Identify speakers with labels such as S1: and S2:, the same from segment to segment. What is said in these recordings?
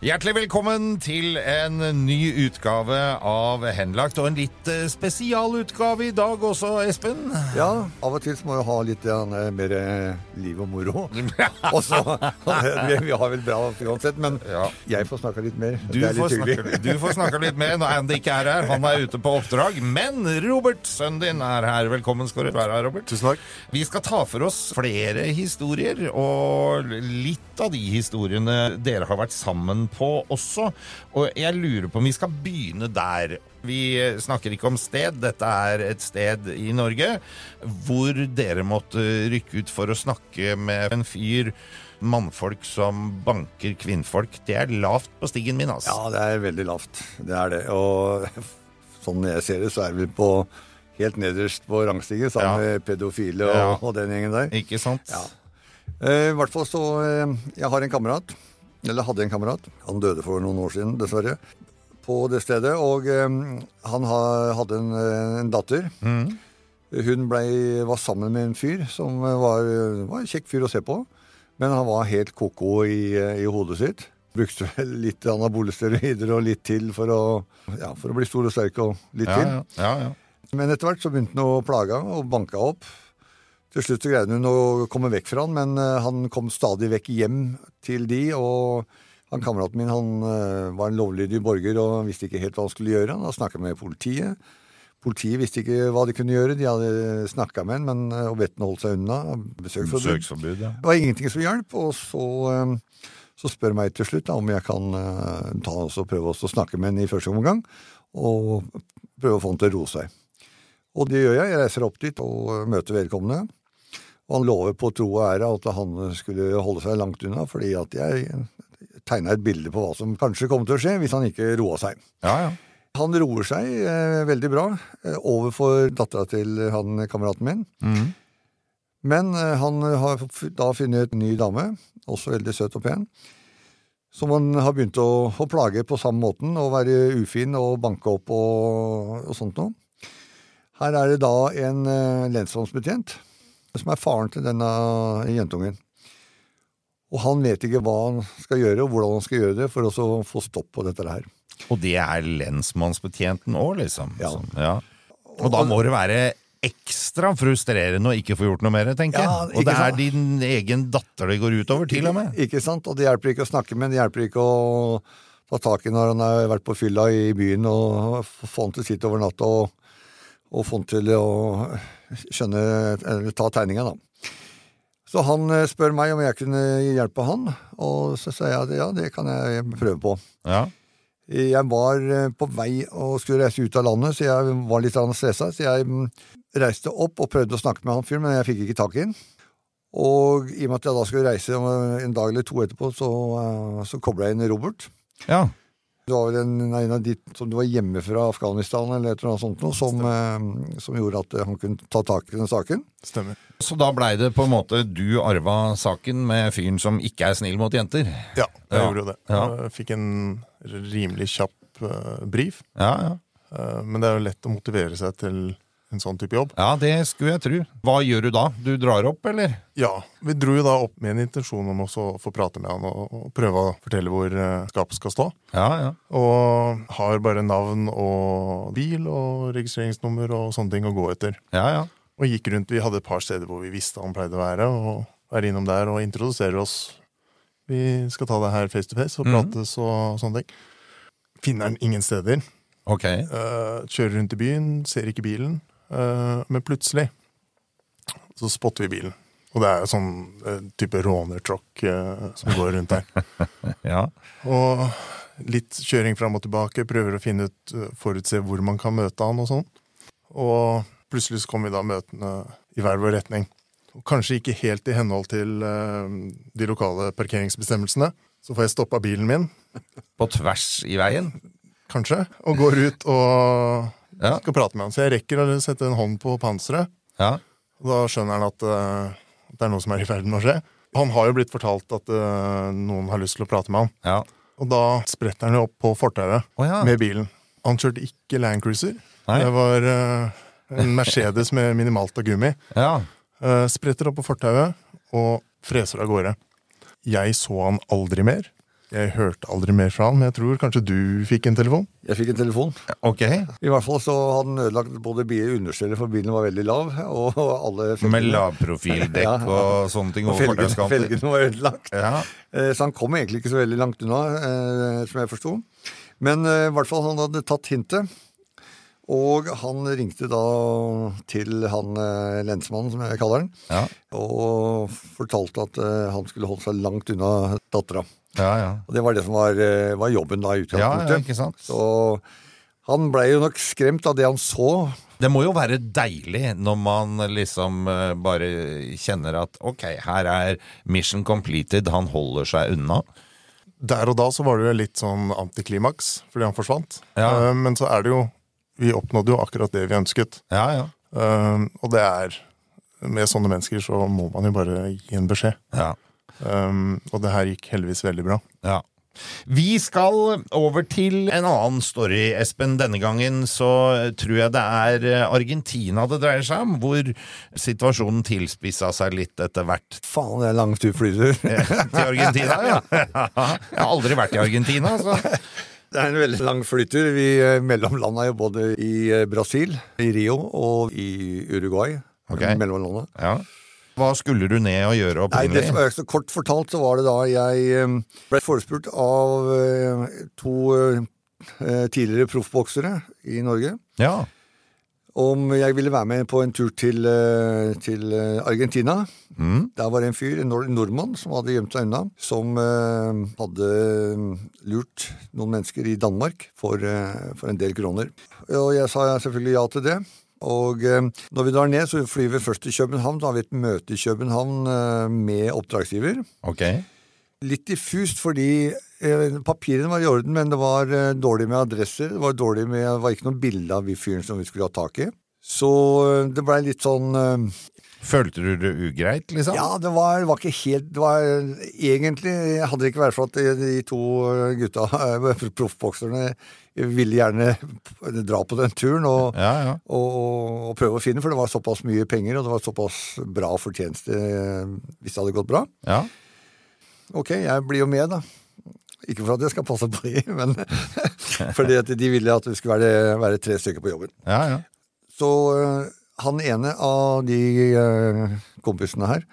S1: Hjertelig velkommen til en ny utgave av Henlagt, og en litt eh, spesialutgave i dag også, Espen.
S2: Ja, av og til så må jeg ha litt grann, eh, mer eh, liv og moro. Og så, vi, vi har vel bra uansett, men
S1: Ja.
S2: jeg får snakka litt mer.
S1: Du
S2: det
S1: får,
S2: er litt
S1: snakke,
S2: hyggelig.
S1: du får snakke litt mer når Andy ikke er her. Han er ute på oppdrag. Men Robert, sønnen din, er her. Velkommen skal du være her, Robert.
S3: Tusen takk.
S1: Vi skal ta for oss flere historier, og litt av de historiene dere har vært sammen på også. Og jeg lurer på om vi skal begynne der. Vi snakker ikke om sted, dette er et sted i Norge hvor dere måtte rykke ut for å snakke med en fyr. Mannfolk som banker kvinnfolk. Det er lavt på stigen min,
S2: Ja,
S1: altså.
S2: det er veldig lavt. Det er det. Og sånn jeg ser det, så er vi på helt nederst på rangstigen sammen
S1: Ja.
S2: med pedofile og,
S1: Ja.
S2: og den gjengen der.
S1: Ikke sant?
S2: Ja. Eh, I hvert fall så eh, Jeg har en kamerat. Eller hadde en kamerat. Han døde for noen år siden, dessverre. På det stedet. Og eh, han ha, hadde en, eh, en datter.
S1: Mm.
S2: Hun blei- var sammen med en fyr som var, var en kjekk fyr å se på. Men han var helt ko-ko i, eh, i hodet sitt. Brukte vel litt anabole steroider og litt til for å, ja, for å bli stor og sterk og litt
S1: Ja,
S2: til.
S1: ja, ja, ja.
S2: Men etter hvert så begynte han å plage han og banka opp. Til slutt så greide hun å komme vekk fra han, men eh, han kom stadig vekk hjem til de, og han kameraten min han eh, var en lovlydig borger og han visste ikke helt hva han skulle gjøre. Han hadde snakka med politiet. Politiet visste ikke hva de kunne gjøre. De hadde snakka med han, men, eh, og bedt han holde seg unna. Besøksforbud.
S1: Søksforbud, ja.
S2: Det var ingenting som hjalp, og så, eh, så spør meg til slutt da, om jeg kan eh, ta oss og prøve oss å snakke med henne i første omgang, og prøve å få henne til å roe seg. Og det gjør jeg. Jeg reiser opp dit og eh, møter vedkommende. Og han lover på tro og ære at han skulle holde seg langt unna, fordi at jeg tegna et bilde på hva som kanskje kom til å skje hvis han ikke roa seg.
S1: ja, ja.
S2: Han roer seg eh, veldig bra eh, overfor dattera til han kameraten min. Men eh, han har f- da funnet en ny dame, også veldig søt og pen, som han har begynt å, å plage på samme måten, og være ufin og banke opp og, og sånt noe. Her er det da en eh, lensmannsbetjent, som er faren til denne jentungen. Og han vet ikke hva han skal gjøre, og hvordan han skal gjøre det for å så få stopp på dette her.
S1: Og det er lensmannsbetjenten òg, liksom.
S2: Ja.
S1: Sånn, ja. Og da må det være ekstra frustrerende å ikke få gjort noe mer, tenker
S2: Ja,
S1: jeg. Og det
S2: ikke
S1: er
S2: sant?
S1: din egen datter det går utover, til og med.
S2: Ikke sant? Og det hjelper ikke å snakke med ham, det hjelper ikke å ta tak i når han har vært på fylla i byen og få han til å sitte over natta og, og få han til å skjønne Eller ta tegninga, da. Så han eh, spør meg om jeg kunne hjelpe han, og så sier jeg at ja, det kan jeg prøve på.
S1: Ja.
S2: Jeg var eh, på vei og skulle reise ut av landet, så jeg var litt stressa. Så jeg mm, reiste opp og prøvde å snakke med han fyren, men jeg fikk ikke tak i han. Og i og med at jeg da skulle reise om, eh, en dag eller to etterpå, så, eh, så kobla jeg inn Robert.
S1: ja.
S2: Det var vel en, en av de som du var hjemme fra Afghanistan eller et eller annet sånt noe, som, eh, som gjorde at eh, han kunne ta tak i den saken.
S4: Stemmer.
S1: Så da blei det på en måte du arva saken med fyren som ikke er snill mot jenter.
S4: Ja, jeg
S1: Ja.
S4: gjorde jo det.
S1: Ja.
S4: Jeg fikk en rimelig kjapp eh, brief.
S1: Ja, ja.
S4: Eh, men det er jo lett å motivere seg til
S3: en sånn type jobb.
S1: Ja, det skulle jeg tro. Hva gjør du da? Du drar opp, eller?
S3: Ja, Vi dro jo da opp med en intensjon om også å få prate med han og, og prøve å fortelle hvor eh, skapet skal stå.
S1: Ja, ja.
S3: Og har bare navn og bil og registreringsnummer og sånne ting å gå etter.
S1: Ja, ja.
S3: Og gikk rundt, Vi hadde et par steder hvor vi visste han pleide å være, og er innom der og introduserer oss. Vi skal ta det her face to face og
S1: Mhm.
S3: prates og sånne ting. Finner han ingen steder.
S1: Ok.
S3: Eh, kjører rundt i byen, ser ikke bilen. eh, men plutselig så spotter vi bilen. Og det er jo sånn eh, type rånertråkk eh, som går rundt der.
S1: Ja.
S3: Og litt kjøring fram og tilbake, prøver å finne ut, eh, forutse hvor man kan møte han og sånn. Og plutselig så kommer vi da møtene i hver vår retning. Og kanskje ikke helt i henhold til eh, de lokale parkeringsbestemmelsene. Så får jeg stoppa bilen min,
S1: På tvers i veien?
S3: kanskje, og går ut og
S1: Ja.
S3: skal prate med han. Så jeg rekker å sette en hånd på panseret,
S1: Ja.
S3: og da skjønner han at eh, det er noe som er i ferd med å skje. Han har jo blitt fortalt at eh, noen har lyst til å prate med han,
S1: Ja.
S3: og da spretter han jo opp på fortauet
S1: Å ja.
S3: med bilen. Han kjørte ikke Land Cruiser,
S1: Nei.
S3: det var eh, en Mercedes med minimalt av gummi.
S1: ja.
S3: Eh, spretter opp på fortauet og freser av gårde. Jeg så han aldri mer. Jeg hørte aldri mer fra han, men jeg tror kanskje du fikk en telefon?
S2: Jeg fikk en telefon.
S1: Ok.
S2: I hvert fall så hadde den ødelagt både bil- understellet, for bilen var veldig lav, og alle
S1: Med
S2: felgene- Ja.
S1: lavprofildekk og sånne ting
S2: og
S1: over
S2: felgene,
S1: fortauskanter.
S2: felgene var ødelagt.
S1: Ja.
S2: Eh, Så han kom egentlig ikke så veldig langt unna, eh, som jeg forsto. Men eh, i hvert fall han hadde tatt hintet. Og han ringte da til han eh, lensmannen, som jeg kaller han,
S1: Ja.
S2: og fortalte at eh, han skulle holde seg langt unna dattera.
S1: Ja, ja.
S2: Og det var det som var, eh, var jobben da
S1: Ja,
S2: i
S1: ja,
S2: utgangspunktet.
S1: ikke sant?
S2: så han blei jo nok skremt av det han så.
S1: Det må jo være deilig når man liksom eh, bare kjenner at ok, her er mission completed, han holder seg unna.
S3: der og da så var det jo litt sånn antiklimaks fordi han forsvant.
S1: Ja.
S3: Eh, Men så er det jo Vi oppnådde jo akkurat det vi ønsket.
S1: Ja, ja.
S3: Eh, Og det er Med sånne mennesker så må man jo bare gi en beskjed.
S1: ja.
S3: Eh, Og det her gikk heldigvis veldig bra.
S1: Ja. Vi skal over til en annen story, Espen. Denne gangen så tror jeg det er Argentina det dreier seg om, hvor situasjonen tilspissa seg litt etter hvert
S2: Faen, det er lang tur flytur.
S1: til Argentina. Ja. Jeg har aldri vært i Argentina, så
S2: Det er en veldig lang flytur. Vi eh, mellomlanda jo både i eh, Brasil, i Rio og i Uruguay.
S1: Ok.
S2: Mellomlanda.
S1: ja. Hva skulle du ned og gjøre
S2: Nei, det som
S1: opprinnelig?
S2: er så Kort fortalt så var det da jeg eh, ble forespurt av eh, to eh, tidligere proffboksere i Norge
S1: Ja.
S2: om jeg ville være med på en tur til, eh, til eh, Argentina. Der var det en fyr, en nord- nordmann, som hadde gjemt seg unna. Som eh, hadde eh, lurt noen mennesker i Danmark for, eh, for en del kroner. Og jeg sa selvfølgelig ja til det. Og eh, når vi drar ned, så flyr vi først til København. Da har vi et møte i København eh, med oppdragsgiver.
S1: Ok.
S2: Litt diffust fordi eh, papirene var i orden, men det var eh, dårlig med adresser. Det var dårlig med, det var ikke noe bilde av vi fyren som vi skulle ha tak i. Så eh, det blei litt sånn eh,
S1: Følte du det ugreit, liksom?
S2: Ja, det var, var ikke helt det var, Egentlig hadde det ikke vært for at de, de to eh, gutta, eh, proffbokserne, ville gjerne dra på den turen. Og,
S1: Ja, ja.
S2: og, og, og prøve å finne, for det var såpass mye penger, og det var såpass bra fortjeneste eh, hvis det hadde gått bra.
S1: ja.
S2: Ok, jeg blir jo med, da. Ikke for at jeg skal passe på de, men fordi at de ville at det skulle være, være tre stykker på jobben.
S1: ja, ja.
S2: Så øh, han ene av de øh, kompisene her,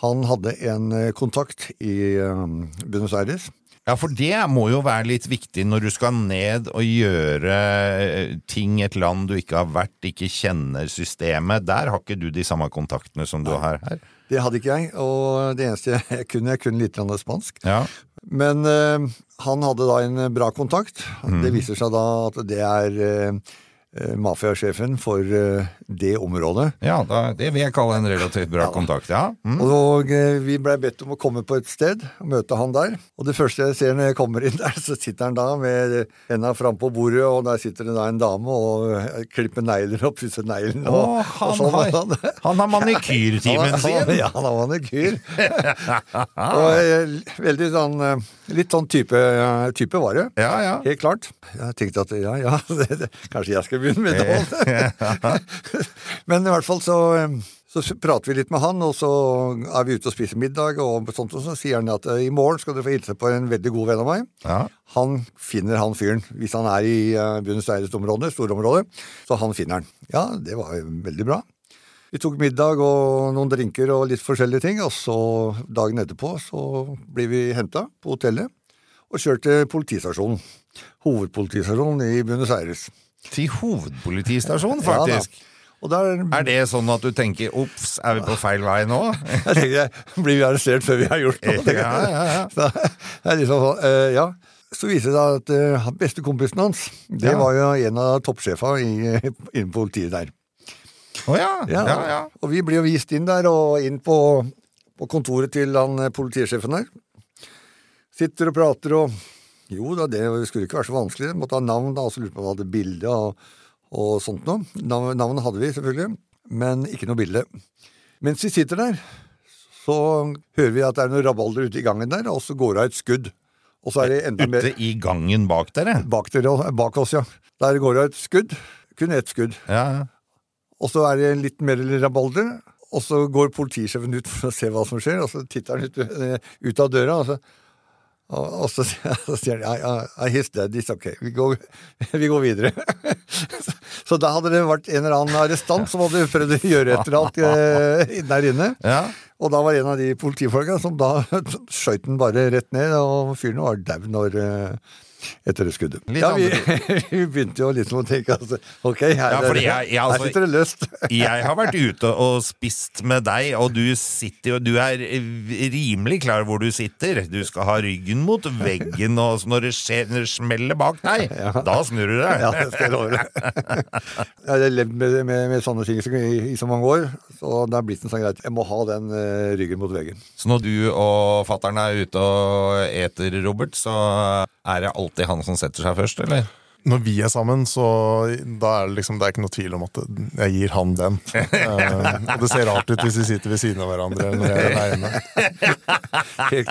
S2: han hadde en øh, kontakt i øh, Buenos Aires.
S1: Ja, for det må jo være litt viktig når du skal ned og gjøre eh, ting i et land du ikke har vært, ikke kjenner systemet. Der har ikke du de samme kontaktene som du har her.
S2: Det hadde ikke jeg, og det eneste jeg kunne, jeg kunne litt grann spansk.
S1: Ja,
S2: Men øh, han hadde da en bra kontakt. Det viser seg da at det er øh, øh, mafiasjefen for øh, det området.
S1: ja da, det vil jeg kalle en relativt bra kontakt. Ja, mm.
S2: Og eh, vi blei bedt om å komme på et sted og møte han der. Og det første jeg ser når jeg kommer inn der, så sitter han da med henda frampå bordet, og der sitter det da en dame og eh, klipper negler og pusser neglen. Og,
S1: Å,
S2: og
S1: han,
S2: sånn,
S1: har,
S2: og sånn.
S1: han har manikyrtimen
S2: Han- han-
S1: sin!
S2: Ja, han var en kyr. og eh, veldig sånn eh, Litt sånn type, type var det.
S1: Ja, ja.
S2: Helt klart. Jeg tenkte at ja, ja, det, det, kanskje jeg skal Revyen med Dahl. Men i hvert fall så, så prater vi litt med han, og så er vi ute og spiser middag, og sånt, og så sier han at eh, i morgen skal du få hilse på en veldig god venn av meg.
S1: Ja.
S2: Han finner han fyren, hvis han er i eh, Buenos Aires-området, storområdet, så han finner han. Ja, det var jo veldig bra. Vi tok middag og noen drinker og litt forskjellige ting, og så dagen etterpå så blir vi henta på hotellet og kjørt til politistasjonen. Hovedpolitistasjonen i Buenos Aires.
S1: Til hovedpolitistasjonen,
S2: Ja da.
S1: faktisk.
S2: og der
S1: er det sånn at du tenker 'ops, er vi på feil vei nå'?
S2: Jeg tenker, jeg blir vi arrestert før vi har gjort noe? tenker
S1: Ja,
S2: jeg.
S1: ja, ja.
S2: Så, det er liksom, sånn, eh, ja. Så viser det seg at eh, han- beste kompisen hans, det
S1: Ja.
S2: var jo en av toppsjefa i, innen politiet der.
S1: Å ja. ja, ja,
S2: Og vi blir jo vist inn der, og inn på, på kontoret til han eh, politisjefen der. Sitter og prater og Jo da, det skulle ikke være så vanskelig. Måtte ha navn, da, og så lurte på om han hadde bilde og, og sånt noe. Nav- Navn hadde vi, selvfølgelig, men ikke noe bilde. Mens vi sitter der, så hører vi at det er noe rabalder ute i gangen der, og så går det av et skudd. Og så er det enda mer
S1: Ute i gangen bak dere.
S2: bak, dere, bak oss, ja. Der går det av et skudd. Kun ett skudd.
S1: Ja.
S2: Og så er det litt mer rabalder, og så går politisjefen ut for å se hva som skjer, og så titter han ut, eh, ut av døra, og så, og, og så, sier- så sier han I, I, I his dead, it's ok, vi går, vi går videre. så, så da hadde det vært en eller annen arrestant som hadde prøvd å gjøre et eller annet eh, der inne.
S1: ja.
S2: Og da var en av de politifolka som da skjøt den bare rett ned, og fyren var dau når eh, etter det skuddet.
S1: Litt
S2: Ja, vi, vi begynte jo liksom å tenke altså, ok, her,
S1: Ja,
S2: er
S1: fordi
S2: det-
S1: jeg- jeg, altså-
S2: her sitter det løst.
S1: Jeg har vært ute og spist med deg, og du sitter jo Du er rimelig klar hvor du sitter. Du skal ha ryggen mot veggen, og så når det, skjer, når det smeller bak deg, da snur du deg.
S2: Ja, det skal jeg love deg. Jeg har levd med, med, med sånne ting så- i, i så mange år, så det er blitt en sånn greit. Jeg må ha den eh, ryggen mot veggen.
S1: Så når du og fattern er ute og eter, Robert, så er det alltid han som setter seg først, eller?
S3: Når vi er sammen, så da er det liksom, det er ikke noe tvil om at jeg gir han den. Eh, og det ser rart ut hvis vi sitter ved siden av hverandre eller når jeg er alene.
S2: Helt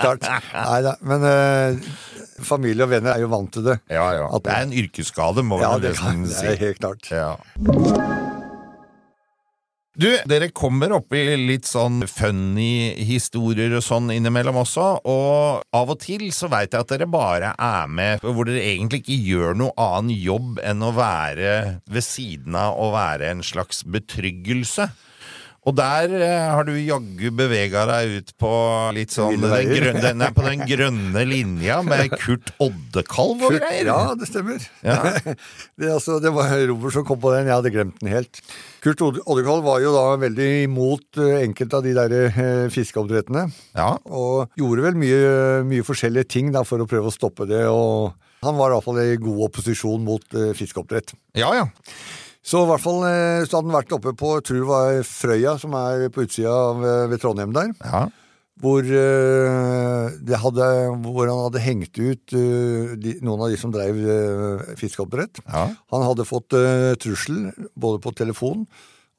S2: klart. Nei da, men eh, familie og venner er jo vant til det.
S1: Ja, ja.
S2: At-
S1: Det er en yrkesskade, må
S2: Ja,
S1: man
S2: det, kan,
S1: nesten
S2: det
S1: si.
S2: er helt klart.
S1: Ja. Du, dere kommer opp i litt sånn funny historier og sånn innimellom også, og av og til så veit jeg at dere bare er med hvor dere egentlig ikke gjør noe annen jobb enn å være ved siden av å være en slags betryggelse. Og der eh, har du jaggu bevega deg ut på litt sånn
S2: Ville
S1: den
S2: veier.
S1: grønne, den er på den grønne linja med Kurt Oddekalv og
S2: Kurt-
S1: greier.
S2: Ja, det stemmer.
S1: Ja.
S2: det, er altså, det var Robert som kom på den, jeg hadde glemt den helt. Kurt Odde- Oddekalv var jo da veldig imot eh, enkelte av de der eh, fiskeoppdrettene,
S1: ja.
S2: og gjorde vel mye, mye forskjellige ting da, for å prøve å stoppe det. og... Han var iallfall i god opposisjon mot eh, fiskeoppdrett.
S1: Ja, ja.
S2: Så i hvert fall eh, så hadde han vært oppe på jeg tror det var Frøya, som er på utsida av, eh, ved Trondheim der
S1: ja.
S2: hvor, eh, det hadde, hvor han hadde hengt ut eh, de, noen av de som drev eh, fiskeoppdrett.
S1: Ja.
S2: Han hadde fått eh, trussel både på telefon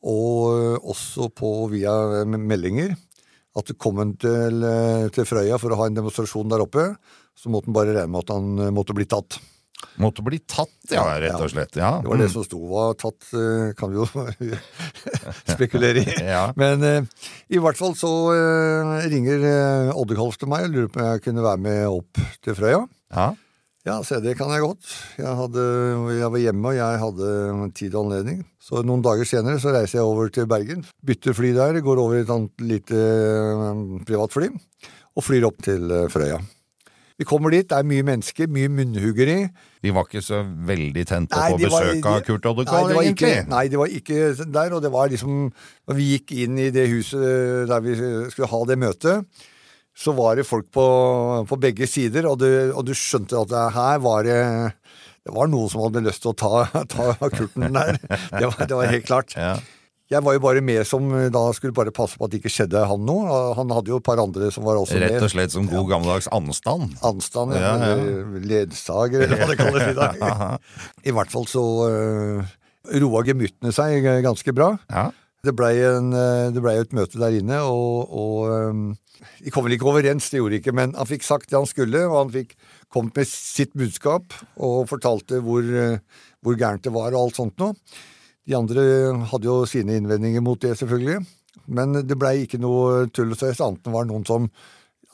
S2: og eh, også på, via eh, meldinger. At kom han til, eh, til Frøya for å ha en demonstrasjon der oppe, så måtte han bare regne med at han eh, måtte bli tatt.
S1: Måtte bli tatt, ja, rett og slett. Ja. mm.
S2: Det var det som sto var tatt, eh, kan vi jo spekulere i.
S1: Ja.
S2: Men eh, i hvert fall så eh, ringer eh, Oddekalf til meg og lurer på om jeg kunne være med opp til Frøya.
S1: Ja.
S2: Ja, se, det kan jeg godt. Jeg, hadde, jeg var hjemme, og jeg hadde tid og anledning. Så noen dager senere så reiser jeg over til Bergen, bytter fly der, går over i et annet lite eh, privat fly, og flyr opp til eh, Frøya. Vi kommer dit, det er mye mennesker, mye munnhuggeri.
S1: De var ikke så veldig tent på
S2: Nei,
S1: å få
S2: de var-
S1: besøk av
S2: de-
S1: Kurt
S2: Nei,
S1: Oddekalv,
S2: det var
S1: egentlig.
S2: ikke- Nei, det var ikke der, og det var liksom Når vi gikk inn i det huset eh, der vi skulle ha det møtet, så var det folk på, på begge sider, og du, og du skjønte at det her var det Det var noen som hadde lyst til å ta, ta kurten der. Det var, det var helt klart.
S1: Ja.
S2: Jeg var jo bare med som eh, da skulle bare passe på at det ikke skjedde han noe. og Han hadde jo et par andre som var også med.
S1: Rett og slett som god gammeldags anstand.
S2: Anstand,
S1: Ja,
S2: ja,
S1: ja.
S2: eller ledsager, eller hva det kalles i dag. I hvert fall så uh, roa gemyttene seg eh, ganske bra.
S1: Ja.
S2: Det blei ble jo et møte der inne, ehm, og, og eh, De kom vel ikke overens, det gjorde de ikke, men han fikk sagt det han skulle, og han fikk kom med sitt budskap og fortalte hvor, eh, hvor gærent det var og alt sånt noe. De andre hadde jo sine innvendinger mot det, selvfølgelig. Men det blei ikke noe tull og tøys, annet enn var noen som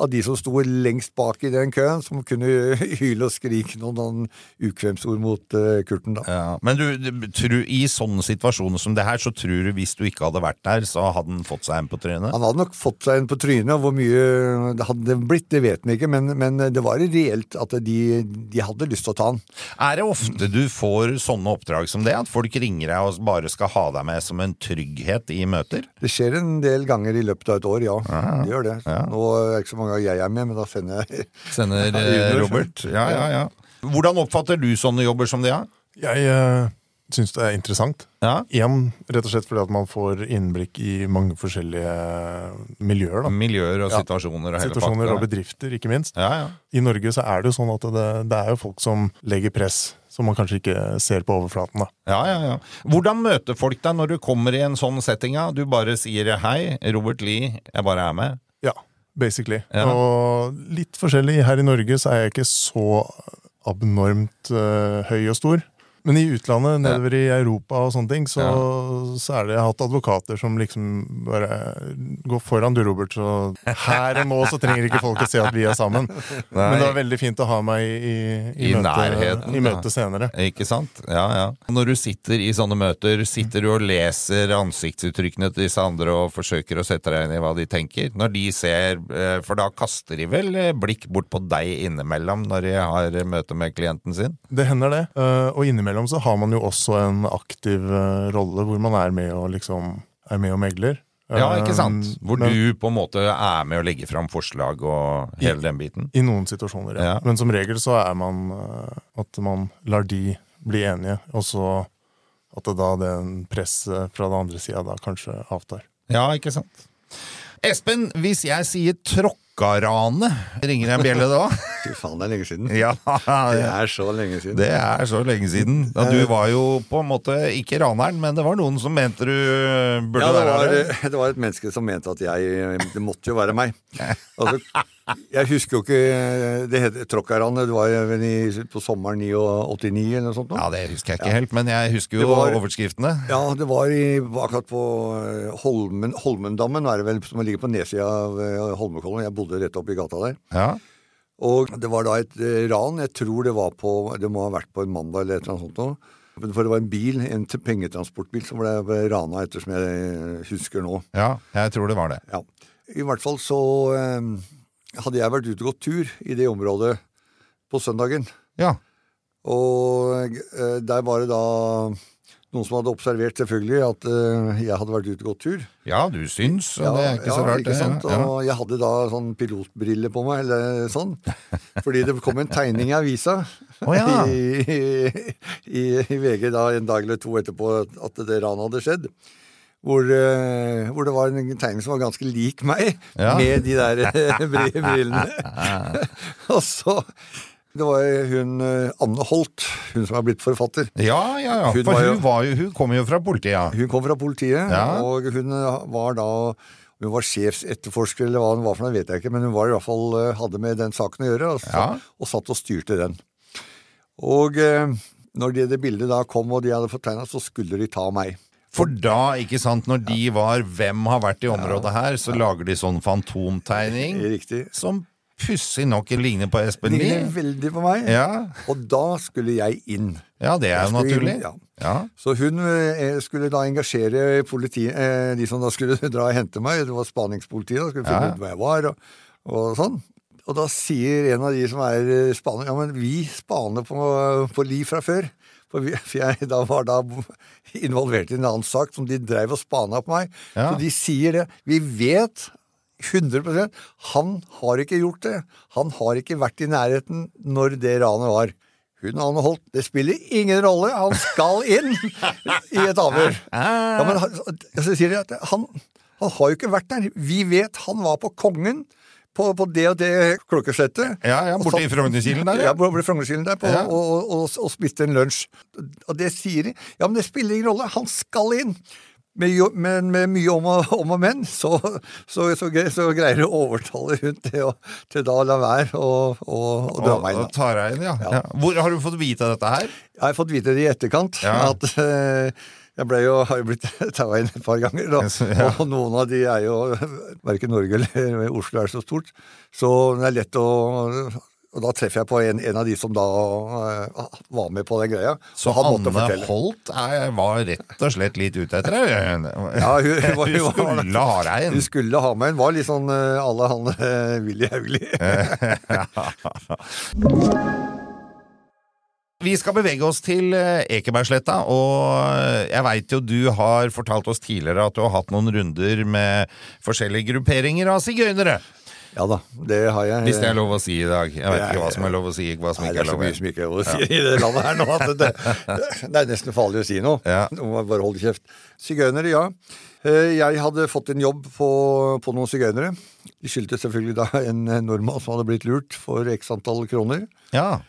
S2: av de som sto lengst bak i den køen, som kunne hyle og skrike noen, noen ukvemsord mot eh, Kurten, da.
S1: Ja, men du, du tror- i sånne situasjoner som det her, så tror du hvis du ikke hadde vært der, så hadde han fått seg en på trynet?
S2: Han hadde nok fått seg en på trynet, og hvor mye det hadde blitt, det vet han ikke, men, men det var reelt at de, de hadde lyst til å ta han.
S1: Er det ofte du får sånne oppdrag som det, at folk ringer deg og bare skal ha deg med som en trygghet i møter?
S2: Det skjer en del ganger i løpet av et år, ja. Det gjør det.
S1: Ja.
S2: Nå er det ikke så mange av jeg er med, men da sender jeg
S1: Sender
S2: eh,
S1: Robert. Ja, ja, ja. Hvordan oppfatter du sånne jobber som det, er?
S3: Jeg uh, syns det er interessant.
S1: Ja?
S3: Igjen rett og slett fordi at man får innblikk i mange forskjellige miljøer. da.
S1: Miljøer og situasjoner og hele
S3: Situasjoner og
S1: pakka.
S3: bedrifter, ikke minst.
S1: Ja, ja.
S3: I Norge så er det jo sånn at det, det er jo folk som legger press, som man kanskje ikke ser på overflaten. da.
S1: Ja, ja, ja. Hvordan møter folk deg når du kommer i en sånn setting? ja? Du bare sier 'hei, Robert Lie, jeg bare er med'.
S3: Ja, basically.
S1: Ja.
S3: Og litt forskjellig. Her i Norge så er jeg ikke så abnormt eh, høy og stor. Men i utlandet, nedover i Europa og sånne ting, så, så er det jeg har hatt advokater som liksom bare går foran du, Robert, så her og nå så trenger ikke folk å se at vi er sammen. Men det var veldig fint å ha meg i, i,
S1: I
S3: møte,
S1: nærheten,
S3: i
S1: ja.
S3: møte senere.
S1: Ikke sant? Ja, ja. Når du sitter i sånne møter, sitter du og leser ansiktsuttrykkene til disse andre og forsøker å sette deg inn i hva de tenker? Når de ser eh, For da kaster de vel eh, blikk bort på deg innimellom når de har eh, møte med klienten sin?
S3: Det hender det. eh, Og innimellom så har man jo også en aktiv eh, rolle hvor man er med og liksom er med og megler.
S1: Ja, ikke sant?
S3: Eh,
S1: Hvor
S3: men-
S1: du på en måte er med å legge fram forslag og hele den biten.
S3: I noen situasjoner, ja.
S1: Ja.
S3: Men som regel så er man eh, at man lar de bli enige, og så at det da den presset fra den andre sida da kanskje avtar.
S1: Ja, ikke sant? Espen, hvis jeg sier tråkkarane, ringer det en bjelle da?
S2: Fy faen, det er lenge siden.
S1: ja,
S2: Det er så lenge siden.
S1: Det er så lenge siden. Da du var jo på en måte ikke raneren, men det var noen som mente du burde
S2: Ja, det
S1: være
S2: var,
S1: det.
S2: det var et menneske som mente at jeg Det måtte jo være meg. Altså, jeg husker jo ikke Det het Tråkkarane. Det var vel i, på sommeren 89 eller noe sånt. nå.
S1: Ja, det husker jeg ikke helt, men jeg husker jo
S2: Det var-
S1: overskriftene.
S2: Ja, det var i, akkurat på eh, Holmen, Holmendammen, er det vel, som ligger på nedsida av eh, Holmenkollen. Jeg bodde rett oppi gata der.
S1: Ja,
S2: Og det var da et eh, ran. Jeg tror det var på Det må ha vært på en mandag eller et eller annet sånt noe. Men For det var en bil, en t- pengetransportbil, som ble rana, ettersom jeg eh, husker nå.
S1: ja jeg tror det var det.
S2: Ja. I hvert fall så eh, hadde jeg vært ute og gått tur i det området på søndagen.
S1: Ja,
S2: Og eh, der var det da noen som hadde observert selvfølgelig at eh, jeg hadde vært ute og gått tur.
S1: ja du syns, og det er ikke så rart.
S2: ikke sant?
S1: det. Ja, ja.
S2: Og jeg hadde da sånn pilotbrille på meg, eller sånn. Fordi det kom en tegning i avisa
S1: Å, ja.
S2: i, i, i VG da en dag eller to etterpå at det ranet hadde skjedd. Hvor, eh, hvor det var en tegning som var ganske lik meg,
S1: Ja.
S2: med de der eh, bri- brillene. og så Det var hun eh, Anne Holt, hun som er blitt forfatter.
S1: Ja, ja, ja.
S2: Hun
S1: For
S2: var jo-
S1: hun, var jo, hun kom jo fra politiet, ja.
S2: Hun kom fra politiet,
S1: Ja.
S2: og hun eh, var da hun var sjefsetterforsker, eller hva hun var for noe, vet jeg ikke, men hun var i hvert fall, eh, hadde med den saken å gjøre, og, sa-
S1: Ja.
S2: og satt og styrte den. Og eh, når det, det bildet da kom, og de hadde fått tegna, så skulle de ta meg.
S1: For da, ikke sant, når de var 'Hvem har vært i området her', så lager de sånn fantomtegning
S2: Riktig.
S1: som pussig nok ligner på Espen
S2: De ligner
S1: Lie.
S2: veldig på meg,
S1: Ja.
S2: og da skulle jeg inn.
S1: ja, det er jo
S2: Jeg skulle
S1: naturlig.
S2: inn, ja.
S1: Ja.
S2: Så hun eh, skulle da engasjere politiet, eh, de som da skulle dra og hente meg, det var spaningspolitiet, da skulle finne
S1: Ja.
S2: ut hva jeg var, og, og sånn. Og da sier en av de som er eh, spaner, ja, men vi spaner på, på liv fra før. For, vi, for jeg da var da involvert i en annen sak som de dreiv og spana på meg.
S1: Ja.
S2: Så de sier det. Vi vet 100 han har ikke gjort det. Han har ikke vært i nærheten når det ranet var. Hun Anne Holt, det spiller ingen rolle, han skal inn i et avhør. Ja,
S1: Ah.
S2: men han, så sier de at han, han har jo ikke vært der. Vi vet han var på Kongen, på, på det og det klokkeslettet.
S1: Ja, ja,
S2: Og
S1: borte
S2: satt-
S1: i Frognerkilen der, ja.
S2: Ja, borte i Frognerkilen der, på,
S1: Ja.
S2: og, og, og, og spiste en lunsj. Og det sier de. Ja, men det spiller ingen rolle, han skal inn. Med jo- Men med mye om og, om og men, så, så, så, gre- så greier du å overtale hun til, å, til da å la være å å- å dra
S1: Og-
S2: meg inn.
S1: og tar deg inn, ja. ja. Hvor har du fått vite dette her?
S2: Jeg har fått vite det i etterkant.
S1: Ja.
S2: At eh, jeg ble jo, har jo blitt taua inn et par ganger. Da.
S1: Ja.
S2: Og noen av de er jo Verken Norge eller Oslo er så stort. Så det er lett å Og da treffer jeg på en, en av de som da eh, var med på den greia.
S1: Så
S2: og han måtte
S1: Anne
S2: fortelle.
S1: Holt er, var rett og slett litt ute etter deg.
S2: Ja, hun, hun, var-
S1: Hun skulle
S2: hun, var-
S1: ha deg
S2: Hun
S1: inn.
S2: skulle ha meg inn. Var litt sånn eh, alle han eh, Willy Hauglie.
S1: Vi skal bevege oss til eh, Ekebergsletta, og eh, jeg veit jo du har fortalt oss tidligere at du har hatt noen runder med forskjellige grupperinger av sigøynere.
S2: Ja da, det har jeg.
S1: Hvis det er lov å si i dag. Jeg vet
S2: Ja,
S1: ikke hva
S2: ja.
S1: som er lov å si, ikke hva som
S2: Nei,
S1: ikke er
S2: det er så
S1: lov å
S2: mye
S1: si.
S2: som ikke er lov å si i det landet her nå at det, det er nesten farlig å si noe.
S1: Ja.
S2: Nå må jeg bare holde kjeft. Sigøynere, ja. Eh, Jeg hadde fått en jobb på, på noen sigøynere. De skyldte selvfølgelig da en nordmann som hadde blitt lurt for x antall kroner.
S1: Ja.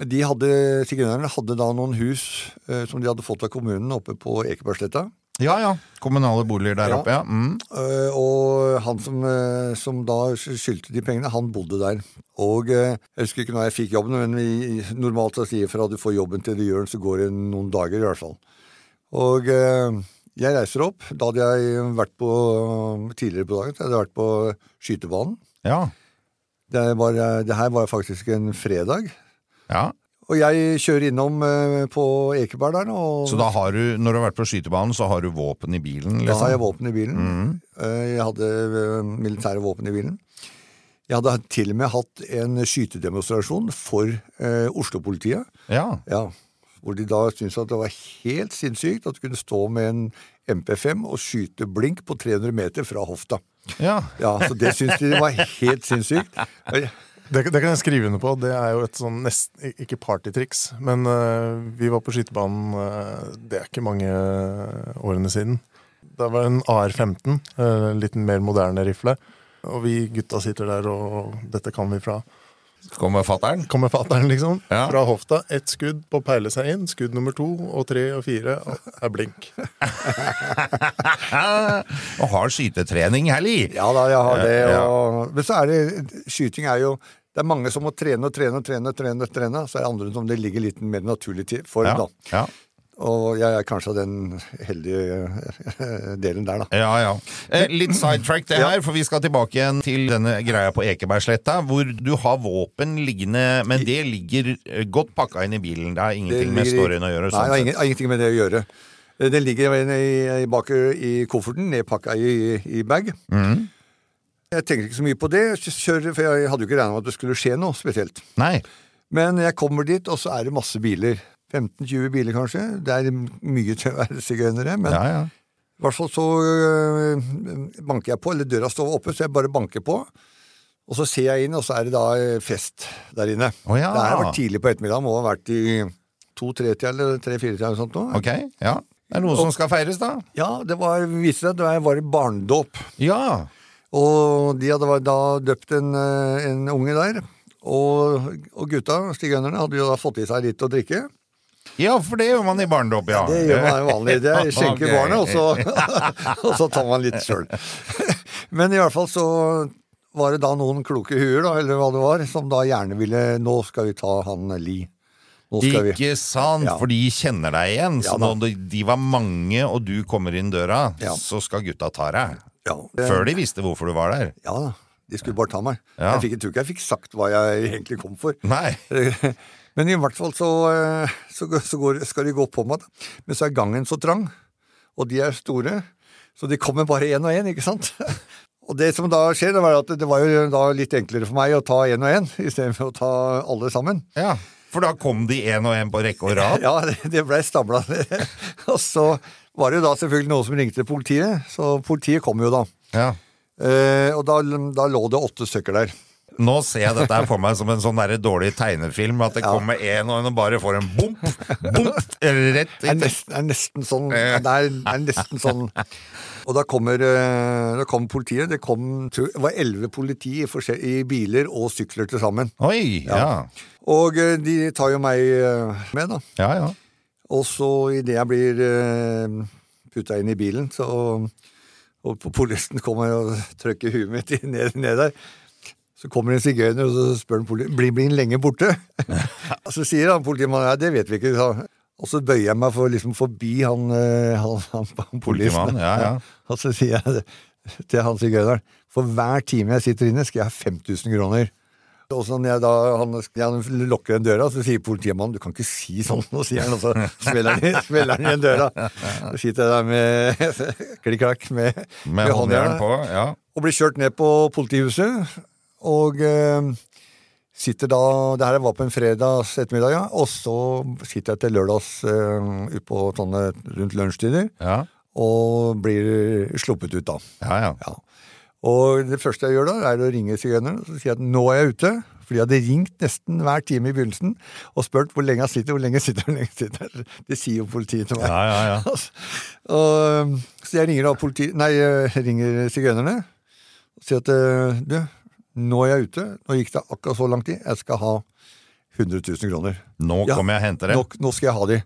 S2: De hadde, Sigøynerne hadde da noen hus eh, som de hadde fått av kommunen oppe på Ekebergsletta.
S1: ja ja. Kommunale boliger der
S2: Ja.
S1: oppe, ja. Mm.
S2: Eh, Og han som, eh, som da skyldte de pengene, han bodde der. Og eh, jeg husker ikke når jeg fikk jobben, men vi, normalt så sier jeg fra du får jobben til du gjør den, så går det noen dager i hvert fall. Og eh, jeg reiser opp. Da hadde jeg vært på tidligere på dagen, så hadde jeg vært på skytebanen.
S1: Ja.
S2: Det, var, eh, det her var faktisk en fredag.
S1: ja.
S2: Og jeg kjører innom eh, på Ekeberg der nå. og-
S1: Så da har du, når du har vært på skytebanen, så har du våpen i bilen?
S2: Da har jeg
S1: Liksom.
S2: våpen i bilen. Eh, Jeg hadde eh, militære våpen i bilen. Jeg hadde til og med hatt en skytedemonstrasjon for eh, Oslo-politiet.
S1: Ja.
S2: Ja, hvor de da syntes at det var helt sinnssykt at du kunne stå med en MP5 og skyte blink på 300 meter fra hofta.
S1: ja.
S2: Ja, Så det syntes de var helt sinnssykt.
S3: Det, det kan jeg skrive under på. Det er jo et sånn nesten Ikke partytriks, men øh, vi var på skytebanen øh, Det er ikke mange øh, årene siden. Det var en AR-15, øh, en liten mer moderne rifle. Og vi gutta sitter der, og dette kan vi fra.
S1: Kommer fattern?
S3: Kommer fatter'n, liksom.
S1: Ja.
S3: Fra hofta. Ett skudd på å peile seg inn. Skudd nummer to og tre og fire er blink.
S1: Og har skytetrening, Helly!
S2: Ja da, jeg har det.
S1: Ja, ja.
S2: Og... Men så er det Skyting er jo det er mange som må trene og trene og trene, og trene, og trene, så er det andre som det ligger litt mer naturlig til for.
S1: Ja.
S2: da.
S1: Ja.
S2: Og jeg er kanskje av den heldige eh, delen der, da.
S1: Ja, ja. Eh, litt sidetrack det her, for vi skal tilbake igjen til denne greia på Ekebergsletta, hvor du har våpen liggende, men det ligger eh, godt pakka inn i bilen. Det har ingenting med
S2: ligger i-
S1: storyen å gjøre. sånn
S2: Nei, det har
S1: sett.
S2: ingen- har ingenting med det å gjøre. Eh, Den ligger i, i, bak i kofferten, nedpakka i, i bag.
S1: Mhm.
S2: Jeg tenker ikke så mye på det, kjører, for jeg hadde jo ikke regna med at det skulle skje noe spesielt.
S1: Nei.
S2: Men jeg kommer dit, og så er det masse biler. 15-20 biler, kanskje. Det er mye til å være sigøynere, men
S1: Ja, ja.
S2: I hvert fall så øh, banker jeg på, eller døra står oppe, så jeg bare banker på. Og så ser jeg inn, og så er det da øh, fest der inne.
S1: Å ja.
S2: Det her var tidlig på ettermiddagen, må ha vært i to-tre-tida eller tre-fire-tida eller sånt nå.
S1: Ok, ja. Det er noe som skal feires, da.
S2: Ja, det var, viste seg at det var en barnedåp.
S1: Ja.
S2: Og de hadde var- da døpt en, øh, en unge der. Og, og gutta, sigøynerne, hadde jo da fått i seg litt å drikke.
S1: Ja, for det gjør man i barndom, ja.
S2: Det gjør man vanlig. Det er skjenker
S1: Ok.
S2: barnet, og så, og så tar man litt sjøl. Men i hvert fall så var det da noen kloke huer, da, eller hva det var, som da gjerne ville Nå skal vi ta han Li. Nå skal vi.
S1: Ikke sant,
S2: Ja.
S1: for de kjenner deg igjen. Så
S2: Ja, da.
S1: når de var mange, og du kommer inn døra,
S2: Ja.
S1: så skal gutta ta deg.
S2: Ja,
S1: Før de visste hvorfor du var der.
S2: ja da. De skulle bare ta meg.
S1: Ja.
S2: Jeg fikk, jeg tror ikke jeg fikk sagt hva jeg egentlig kom for.
S1: Nei.
S2: Men i hvert fall så, eh, så, så går, skal de gå på meg, da. Men så er gangen så trang, og de er store, så de kommer bare én og én, ikke sant? Og det som da skjer, det var at det var jo da litt enklere for meg å ta én og én istedenfor å ta alle sammen.
S1: Ja, for da kom de en og en på rekke og rad.
S2: Ja, det, det blei stabla ned. Og så var det jo da selvfølgelig noen som ringte politiet, så politiet kom jo da.
S1: Ja.
S2: Eh, og da, da lå det åtte stykker der.
S1: Nå ser jeg dette her for meg som en sånn der dårlig tegnefilm, at det kommer en og en og bare får en bump, bump, rett
S2: Det er
S1: i
S2: nesten, er nesten sånn Det er, er nesten sånn Og da kommer, eh, da kommer politiet. Det, kom, tror- det var elleve politi i, forskjell- i biler og sykler til sammen.
S1: Oi, ja.
S2: Og eh, de tar jo meg eh, med, da.
S1: Ja, ja.
S2: Og så idet jeg blir eh, puta inn i bilen. Så, og, og polisen kommer og trykker huet mitt inn- ned, ned der. Så kommer det en sigøyner, og så spør han politiet blir blir han lenge borte. Og så sier han politimannen ja, det vet vi ikke. sa han. Og så bøyer jeg meg for, liksom, forbi han, eh, han, han, han
S1: Politimannen,
S2: politimannen.
S1: ja, ja.
S2: Og så sier jeg det til han sigøyneren for hver time jeg sitter inne, skal jeg ha 5000 kroner. Og så når jeg da, han, han lukker den døra, så sier politimannen 'du kan ikke si sånn', og sier han, og så smeller han i- smeller han igjen døra. Så sitter jeg der med klikk-klakk med,
S1: Med håndjern
S2: håndjernet
S1: på, ja.
S2: og blir kjørt ned på politihuset. Og eh, sitter da Det her var på en fredags ettermiddag, ja. Og så sitter jeg til lørdags eh, ut på sånne rundt lunsjtider.
S1: Ja,
S2: Og blir sluppet ut, da.
S1: ja. ja.
S2: Ja. Og det første jeg gjør da, er å ringe sigøyneren og så sier jeg at nå er jeg ute. For de hadde ringt nesten hver time i begynnelsen og spurt hvor lenge han sitter, hvor lenge han sitter, hvor lenge han sitter. Det sier jo politiet til meg. Altså.
S1: Ja, ja, ja.
S2: og, um, så jeg ringer da politi... Nei, jeg ringer sigøynerne og sier at eh, du, nå er jeg ute. Nå gikk det akkurat så lang tid. Jeg skal ha 100 000 kroner.
S1: Nå
S2: Ja,
S1: kommer jeg og henter det.
S2: Nå, nå skal jeg ha de.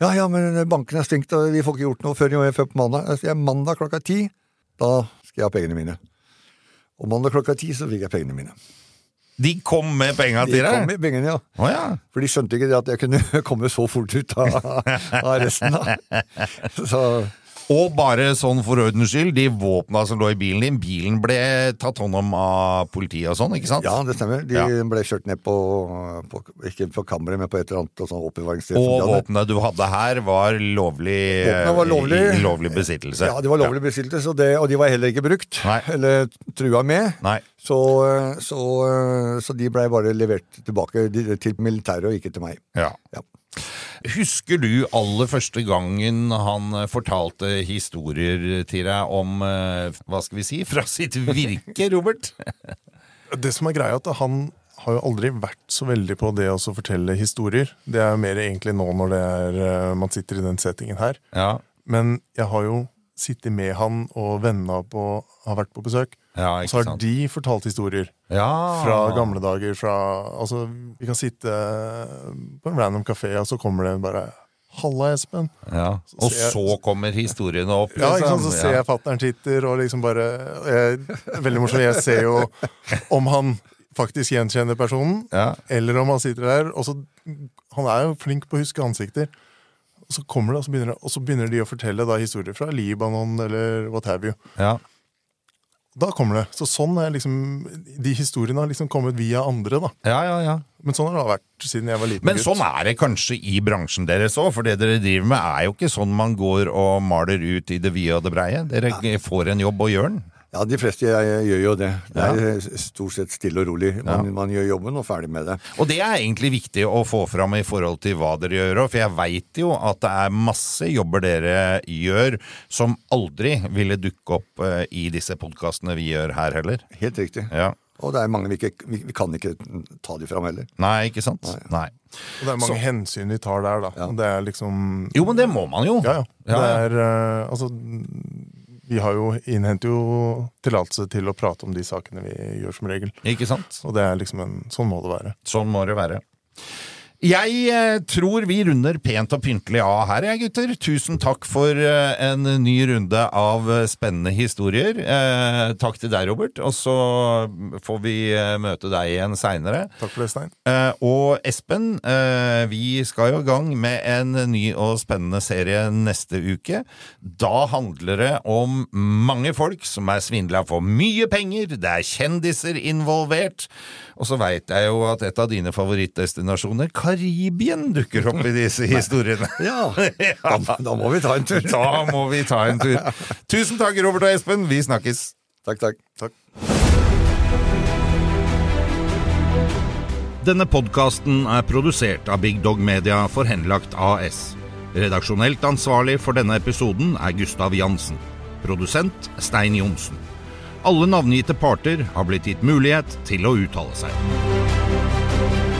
S2: Ja, ja, men banken er stengt, og vi får ikke gjort noe før, i- før på mandag. Jeg sier, mandag klokka ti, da skal jeg ha pengene mine. Og mandag klokka ti så fikk jeg pengene mine.
S1: De kom med penga
S2: De
S1: til
S2: kom
S1: deg?
S2: med pengene, ja.
S1: Å ja.
S2: For de skjønte ikke det at jeg kunne komme så fort ut av, av resten. Da. Så,
S1: Og bare sånn for ordens skyld, de våpna som lå i bilen din, bilen ble tatt hånd om av politiet og sånn, ikke sant?
S2: ja, det stemmer. De
S1: Ja.
S2: ble kjørt ned på, på ikke på kammeret, men på et eller annet sånn oppbevaringssted. som
S1: Og
S2: de hadde.
S1: våpnet du hadde her var lovlig
S2: Våpnene var lovlig.
S1: i- i lovlig besittelse.
S2: Ja, de var lovlig besittelse, og, det- og de var heller ikke brukt.
S1: Nei.
S2: Eller trua med.
S1: Nei.
S2: Så, så, så de blei bare levert tilbake til militæret og ikke til meg.
S1: Ja.
S2: Ja.
S1: Husker du aller første gangen han eh, fortalte historier til deg om eh, Hva skal vi si? Fra sitt virke, Robert?
S3: Det som er greia, er at han har jo aldri vært så veldig på det å så fortelle historier. Det er mer egentlig nå når det er, eh, man sitter i den settingen her.
S1: Ja.
S3: Men jeg har jo sittet med han, og vennene på, har vært på besøk.
S1: Ja,
S3: Og
S1: ikke
S3: så har
S1: sant. Ah.
S3: de fortalt historier
S1: Ja.
S3: fra gamle dager. Fra, altså, vi kan sitte på en random kafé, og så kommer det en bare 'Halla, Espen'.
S1: Ja. Og
S3: ser jeg-
S1: så kommer historiene opp.
S3: Ja, ikke
S1: liksom.
S3: sant? Så ser jeg fatter'n sitter og liksom bare og jeg, Veldig morsomt. Jeg ser jo om han faktisk gjenkjenner personen,
S1: Ja.
S3: eller om han sitter der. Og så, han er jo flink på å huske ansikter. Og så kommer det, og så begynner, det- og så begynner de å fortelle da historier fra Libanon eller what have you.
S1: Ja.
S3: Da kommer det. Så sånn er liksom, De historiene har liksom kommet via andre. da.
S1: ja, ja, ja.
S3: Men sånn har det vært siden jeg var liten
S1: Men
S3: gutt.
S1: sånn er det kanskje i bransjen deres òg, for det dere driver med er jo ikke sånn man går og maler ut i det vide og det breie. Dere får en jobb og gjør den.
S2: Ja, de fleste jeg, gjør jo det. Det er eh, stort sett stille og rolig. Man, man gjør jobben og ferdig med det.
S1: Og det er egentlig viktig å få fram i forhold til hva dere gjør, og for jeg veit jo at det er masse jobber dere gjør som aldri ville dukke opp eh, i disse podkastene vi gjør her heller.
S2: Helt riktig.
S1: Ja.
S2: Og det er mange vi ikke vi, vi kan ikke ta de fram heller.
S1: Nei, ikke sant? Nei.
S3: Og det er mange hensyn vi tar der, da. Og Det er liksom
S1: Jo, men det må man jo.
S3: Ja, ja.
S1: Ja, ja.
S3: Det er, eh, altså, vi har jo innhenter jo tillatelse til å prate om de sakene vi gjør som regel.
S1: Ikke sant?
S3: Og det er liksom en, sånn må det være.
S1: Sånn må det være. Jeg eh, tror vi runder pent og pyntelig av her, jeg, gutter. Tusen takk for eh, en ny runde av eh, spennende historier. Eh, takk til deg, Robert. Og så får vi eh, møte deg igjen seinere.
S3: Takk for det, Stein.
S1: Eh, og Espen, eh, vi skal jo i gang med en ny og spennende serie neste uke. Da handler det om mange folk som er svindla for mye penger, det er kjendiser involvert, og så veit jeg jo at et av dine favorittdestinasjoner, Karibien, dukker opp i disse historiene.
S2: Ja,
S1: Ja.
S2: da, da må vi ta en tur.
S1: Da må vi ta en tur. Tusen takk, Robert og Espen. Vi snakkes.
S2: Takk, takk. takk.
S1: Denne podkasten er produsert av Big Dog Media for Henlagt AS. Redaksjonelt ansvarlig for denne episoden er Gustav Jansen. Produsent Stein Johnsen. Alle navngitte parter har blitt gitt mulighet til å uttale seg.